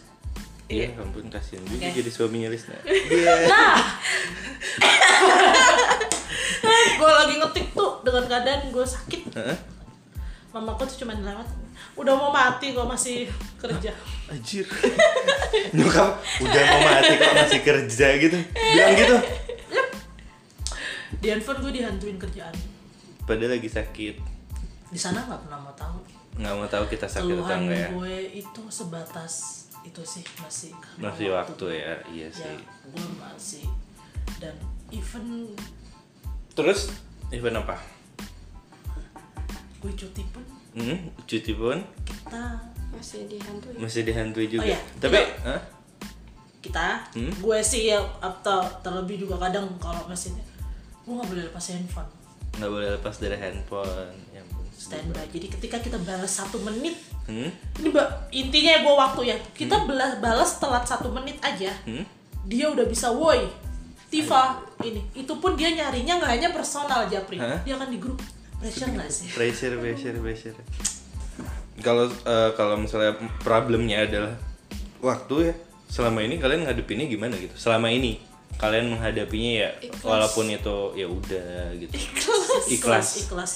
Iya, ampun kasihan juga
Oke.
jadi suaminya
[laughs]
Lisna. Iya.
Nah! gue lagi ngetik tuh dengan keadaan gue sakit
Heeh.
Mamaku tuh cuma lewat Udah mau mati gue masih kerja
Anjir. [laughs] Nyokap udah mau mati kok masih kerja gitu. Bilang gitu.
Di handphone gue dihantuin kerjaan
Padahal lagi sakit.
Di sana gak pernah mau tahu
Nggak mau tahu kita sakit atau
Keluhan
enggak ya.
gue itu sebatas itu sih masih karena
Masih waktu ya, iya
ya,
sih.
gue masih dan even
Terus event apa?
gue cuti pun
Hmm, cuti pun
kita
masih ya? dihantui
masih dihantui juga.
Oh, iya.
Tapi
Iya.
Hah?
kita
Hmm?
gue sih ya atau terlebih juga kadang kalau mesinnya gue nggak boleh lepas handphone
nggak boleh lepas dari handphone. Ya ampun.
standby jadi ketika kita balas satu menit
Hmm?
ini ba- intinya gue waktu ya kita balas balas telat satu menit aja
Hmm?
dia udah bisa woi Tifa ini itu pun dia nyarinya nggak hanya personal Japri
Hah?
dia kan di grup pressure nggak sih
Pressure, pressure, pressure. Kalau eh, kalau misalnya problemnya adalah waktu ya. Selama ini kalian ngadepinnya gimana gitu? Selama ini kalian menghadapinya ya
Ikhlas.
walaupun itu ya udah gitu. Ikhlas.
ikhlas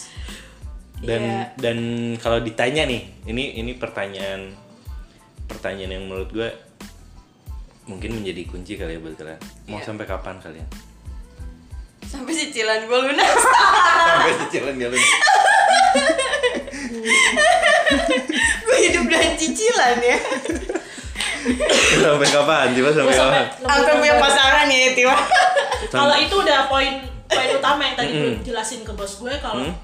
dan
Iya.
dan kalau ditanya nih ini ini pertanyaan pertanyaan yang menurut gue mungkin menjadi kunci kali ya buat kalian mau
Iya.
sampai kapan kalian
sampai cicilan gue lunas
[laughs] sampai cicilan ya lu
gue hidup dari cicilan ya
sampai kapan tiba sampai
Gua
kapan
sampai punya pasangan ya tiba
kalau itu udah poin poin utama yang tadi gue jelasin ke bos gue kalau
Mm.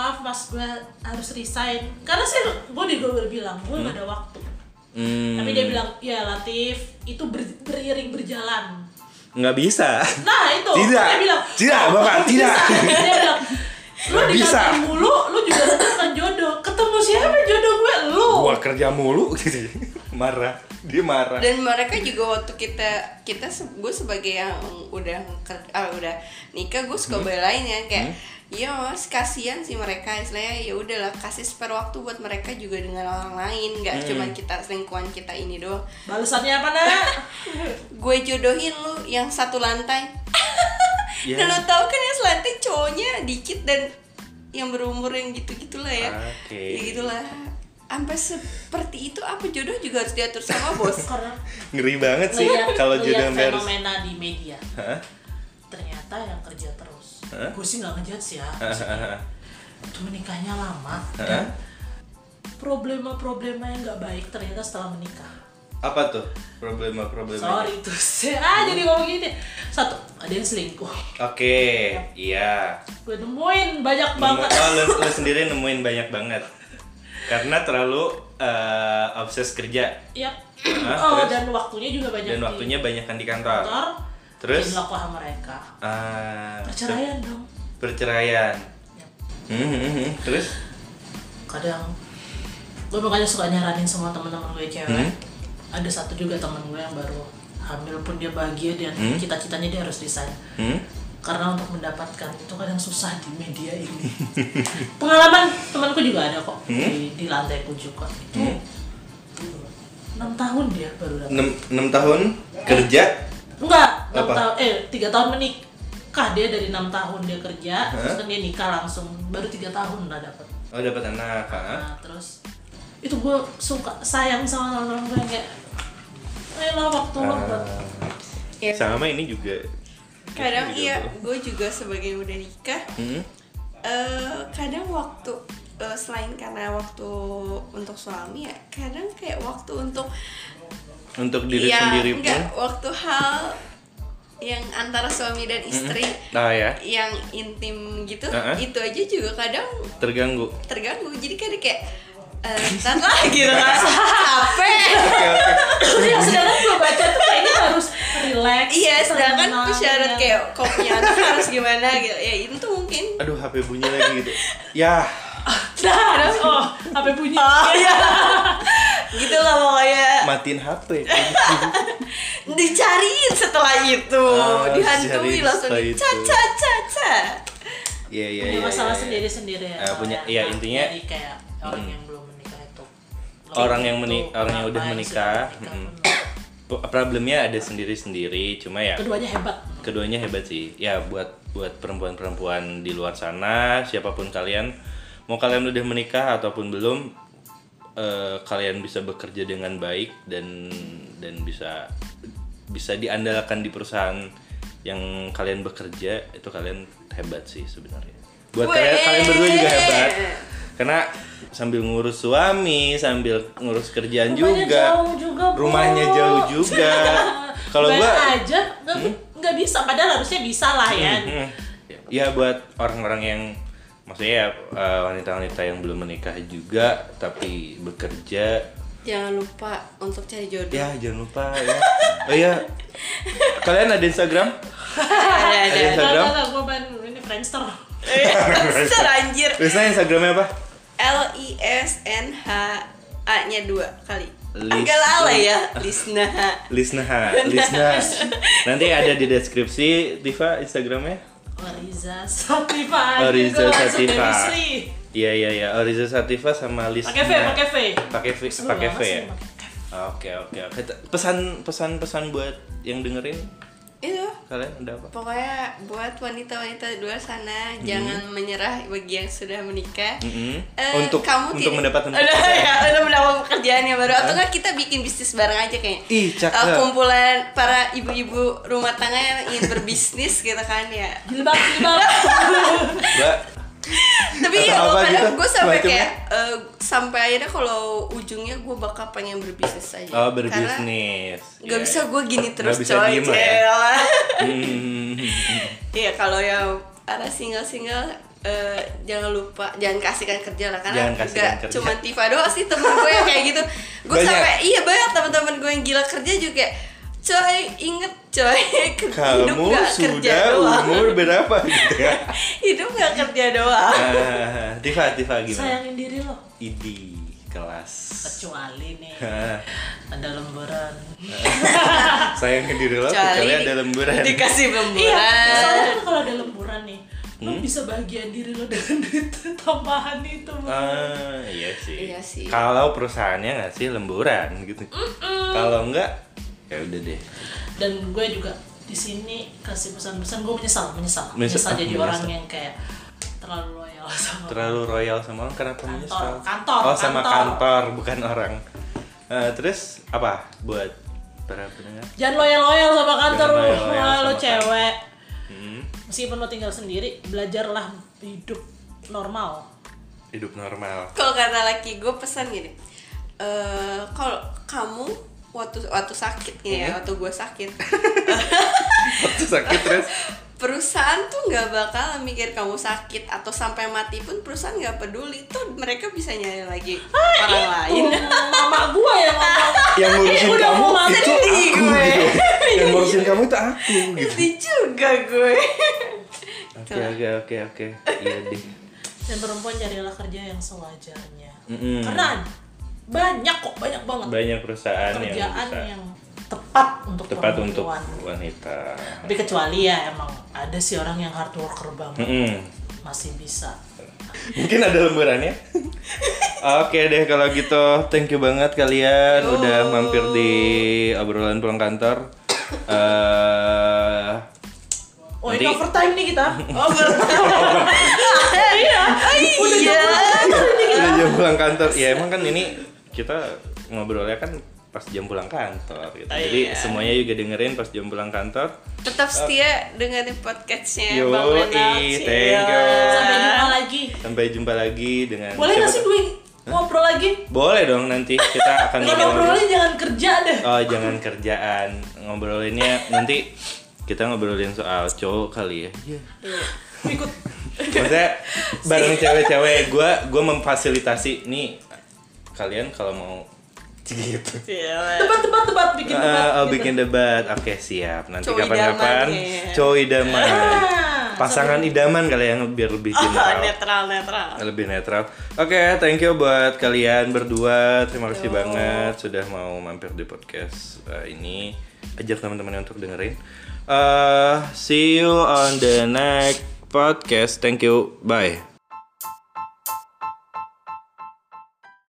maaf mas gue harus resign karena sih gue di gue bilang gue gak ada waktu
Hmm,
tapi dia bilang ya Latif itu ber- beriring berjalan
nggak bisa
nah itu
Tidak.
dia bilang
Tidak,
"Oh,
Bapak,
bisa."
tidak.
dia bilang lu
Bisa.
kan dikatakan mulu lu juga dapatkan jodoh ketemu siapa jodoh gue lu
wah kerja mulu [laughs] gitu marah dia marah
dan mereka juga waktu kita kita gue sebagai yang udah ker- ah, udah nikah gue suka belain ya kayak ya mas kasihan sih mereka istilahnya ya udahlah kasih spare waktu buat mereka juga dengan orang lain nggak cuma kita lingkungan kita ini doang
Balasannya apa nak?
gue jodohin lu yang satu lantai
Ya.
dan lo tau kan yang selantai cowoknya dikit dan yang berumur yang gitu gitulah ya
Oke.
ya gitulah sampai seperti itu apa jodoh juga harus diatur sama
[laughs]
bos
Karena
ngeri banget sih
ngeliat,
kalau
ngeliat
jodoh sampai harus
fenomena di media
Hah?
ternyata yang kerja terus.
Hah?
Gue sih nggak ngejat sih ya. maksudnya. Cuma nikahnya lama. kan?
Hah?
Problema-problema yang nggak baik ternyata setelah menikah.
apa tuh problema problema
Sorry tuh, [laughs] ah jadi ngomong gini deh. Satu, ada yang selingkuh.
oke iya
Gue nemuin banyak
Nemu-
banget.
oh, lo, lo sendiri nemuin banyak banget karena terlalu eh, obses kerja
Yap.
Hah,
Oh,
terus?
dan waktunya juga banyak
dan
di
waktunya banyakan di kantor
kantor.
Terus?
jadilah aku sama mereka.
Ah,
Perceraian dong.
perceraian
Yap.
Hmm, hmm, hmm. terus
kadang gue makanya suka nyaranin sama teman-teman gue cewek
Hmm?
ada satu juga teman gue yang baru hamil pun dia bahagia dan
Hmm?
cita-citanya dia harus resign
hmm?
karena untuk mendapatkan itu kadang susah di media
[laughs]
ini pengalaman temanku juga ada kok
Hmm?
di, di lantai pojok kok itu
Hmm?
enam tahun dia baru dapat
6, tahun kerja
enggak enam
Apa?
tahun eh tiga tahun menikah dia dari enam tahun dia kerja terus kan dia nikah langsung baru tiga tahun lah dapat
oh dapat anak ah.
Nah, terus itu gue suka sayang sama teman-teman gue yang kayak ayolah waktu
Ah.
lo buat
ya
sama ini juga
kadang
Gitu
iya
juga.
gue juga sebagai udah nikah
Hmm?
eh, kadang waktu eh, selain karena waktu untuk suami ya kadang kayak waktu untuk
untuk diri
ya,
sendiri pun
enggak, waktu hal yang antara suami dan istri
nah ya
yang intim gitu
Uh-uh.
itu aja juga kadang
terganggu
terganggu jadi kadang kayak eh, ntar lah gitu [laughs] kan capek
Oke, oke.
Terus yang sedangkan gue baca tuh kayaknya harus relax
iya sedangkan
tenang,
tuh syarat
ya.
kayak kopian tuh harus gimana gitu ya itu tuh mungkin
aduh HP bunyi lagi gitu ya
nah terus, oh HP bunyi iya
[laughs] gitu lah pokoknya
matiin HP
dicariin setelah itu
Ah,
dihantui
dicariin
langsung
setelah
di- ca
itu.
ca ca ca
iya iya
punya
iya
masalah
iya.
sendiri sendiri ya
Eh, punya-
soalnya.
iya,
Nah,
intinya- Hmm.
jadi kayak orang yang belum menikah itu
Orang yang meni-
Itu
orang yang udah
ngapain
menikah,
sudah
mm.
menikah pun.
Po- problemnya ada sendiri sendiri cuma ya
keduanya hebat
keduanya hebat sih ya buat buat perempuan-perempuan di luar sana siapapun kalian mau kalian udah menikah ataupun belum eh, kalian bisa bekerja dengan baik dan dan bisa bisa diandalkan di perusahaan yang kalian bekerja itu kalian hebat sih sebenarnya buat kalian kalian berdua juga hebat karena sambil ngurus suami sambil ngurus kerjaan
Rumahnya
juga
jauh juga, Bu.
rumahnya jauh
[laughs]
juga kalau
Bayar
gua
aja nggak bi- nggak bisa padahal harusnya bisa lah ya
Hmm. Ya buat orang-orang yang maksudnya ya, eh, wanita-wanita yang belum menikah juga tapi bekerja
jangan lupa untuk cari jodoh
ya jangan lupa ya. Oh iya. Kalian ada Instagram?
ada
Ada
ada
Instagram?
Enggak, gue main ini Friendster.
Iya.
[laughs] Ser, anjir
Lisna Instagramnya apa?
L I S N H A nya dua kali
Lis-
agak lala
[laughs]
ya Lisna
Lisna. Lisna. Nanti ada di deskripsi Tifa Instagramnya.
Oriza Sativa.
Oh, Riza
Gua langsung
Sativa.
chemistry.
Iya iya iya. Oh Riza Sativa sama Lisna.
Pakai V, pakai V.
Pakai V,
Seru
Iya. pakai V
banget sih,
ya. Oke oke oke. Pesan pesan pesan buat yang dengerin
itu
kalian ada apa?
pokoknya buat wanita-wanita di luar sana
Mm-hmm.
jangan menyerah bagi yang sudah menikah Eh,
Mm-mm. Mm-hmm. Untuk- untuk
tidak- [laughs]
mendapatkan
Aduh,
pekerjaan.
ya, untuk mendapatkan pekerjaan yang baru atau enggak kita bikin bisnis bareng aja kayaknya
Ih, cakep.
Eh, kumpulan para ibu-ibu rumah tangga yang ingin berbisnis [laughs] gitu kan ya
Jilbab, jilbab.
[laughs] Mbak.
tapi
Atau
ya
apa gitu,
gue sampai
semacamnya?
kayak eh, sampai akhirnya kalau ujungnya gue bakal pengen berbisnis aja
Oh
karena
berbisnis.
Gak
Iya,
bisa
iya.
gue gini
Nggak
terus
bisa
coy Iya.
diem lah ya.
Jelas. [laughs]
Hmm.
Iya kalau yang para single-single eh, jangan lupa jangan kasihkan kerja lah karena
Jangan kasihkan
nggak
kerja.
cuma Tifa doang sih temen gue yang kayak gitu. Gue
Banyak.
sampai iya banyak teman-teman gue yang gila kerja juga. kayak, Coy inget coy [laughs] ke- hidup
Kamu
gak kerja
sudah
doang. [laughs]
umur berapa gitu ya?
hidup gak kerja doang.
Ah, Tifa, Tifa gimana?
Sayangin diri lo.
Idi. kelas. [laughs]
kecuali nih ada lemburan
Sayangnya diri lo
Kecuali
kecuali ada lemburan.
dikasih
iya
lemburan
soalnya kan kalau ada lemburan nih lo
Hmm?
bisa bahagia diri lo dengan duit tambahan itu
Ah, iya sih.
Iya sih.
Kalau perusahaannya ngasih lemburan gitu. Kalau enggak ya udah deh.
dan gue juga di sini kasih pesan-pesan gue menyesal menyesal
Menyesal,
menyesal, jadi
menyesal.
orang yang kayak terlalu loyal
Oh.
sama
Terlalu royal sama orang kenapa
Kantor,
menyesal?
kantor,
Oh, sama
kantor.
kantor bukan orang. Eh, terus apa buat para pendengar?
jangan loyal loyal sama kantor
Jangan
lo
loyal-loyal
Wah, lo
sama
cewek
Hmm,
meskipun lo tinggal sendiri belajarlah hidup normal
hidup normal. [laughs]
kalau kata laki gue pesan gini eh kalau kamu waktu waktu sakit gini ya
Iya.
waktu gue sakit
Waktu sakit terus
perusahaan tuh nggak bakal mikir kamu sakit atau sampai mati pun perusahaan nggak peduli tuh mereka bisa nyari lagi
Ah,
orang lain [laughs]
mama gue yang ngomong
yang ngurusin
udah
Eh,
Iya,
kamu
mau
itu
mati
aku
gue.
gitu.
[laughs]
yang ngurusin kamu itu aku gitu.
Sedih juga gue
Oke oke oke oke. Iya deh.
dan perempuan carilah kerja yang sewajarnya
Mm-mm.
karena banyak kok banyak banget
Banyak perusahaan yang
kerjaan
bisa
yang tepat untuk
tepat
perempuan.
untuk wanita.
tapi kecuali ya emang ada sih orang yang hard worker banget
Mm-mm.
masih bisa
Mungkin ada ya? lemburannya. [laughs] Oke deh kalau gitu, thank you banget kalian udah mampir di obrolan pulang kantor. Eh,
oh
Nanti-
ini overtime nih
[laughs]
kita overtime iya udah
iya.
jam berapa
udah
ini kita?
jam Iya, pulang kantor. Ya emang kan ini kita ngobrolnya kan pas jam pulang kantor gitu.
Oh,
Jadi
iya.
semuanya juga dengerin pas jam pulang kantor.
tetap setia dengerin
Iya,
podcastnya
Yo,
bang Renal
i,
Cil.
thank you.
sampai jumpa lagi
Sampai jumpa lagi dengan
boleh nggak
siapa
sih
tuh?
gue ngobrol lagi
Boleh dong nanti kita akan
Nggak
ngobrol.
ngobrolnya jangan kerja deh
Oh jangan kerjaan ngobrolinnya nanti kita ngobrolin soal cowok kali ya.
Iya. ikut
Maksudnya bareng cewek-cewek gue gue memfasilitasi nih kalian kalau mau gitu.
debat debat debat bikin debat
Ah, oh,
gitu.
bikin debat. Oke siap. Nanti
Cowok
kapan-kapan
idaman, ya.
cowok idaman.
Ah,
Pasangan idaman kalian biar lebih
Ah,
general.
netral netral
lebih netral. Oke, thank you buat kalian berdua. Terima kasih banget sudah mau mampir di podcast eh, ini. Ajak teman-teman untuk dengerin. Eh, see you on the next podcast. Thank you. Bye.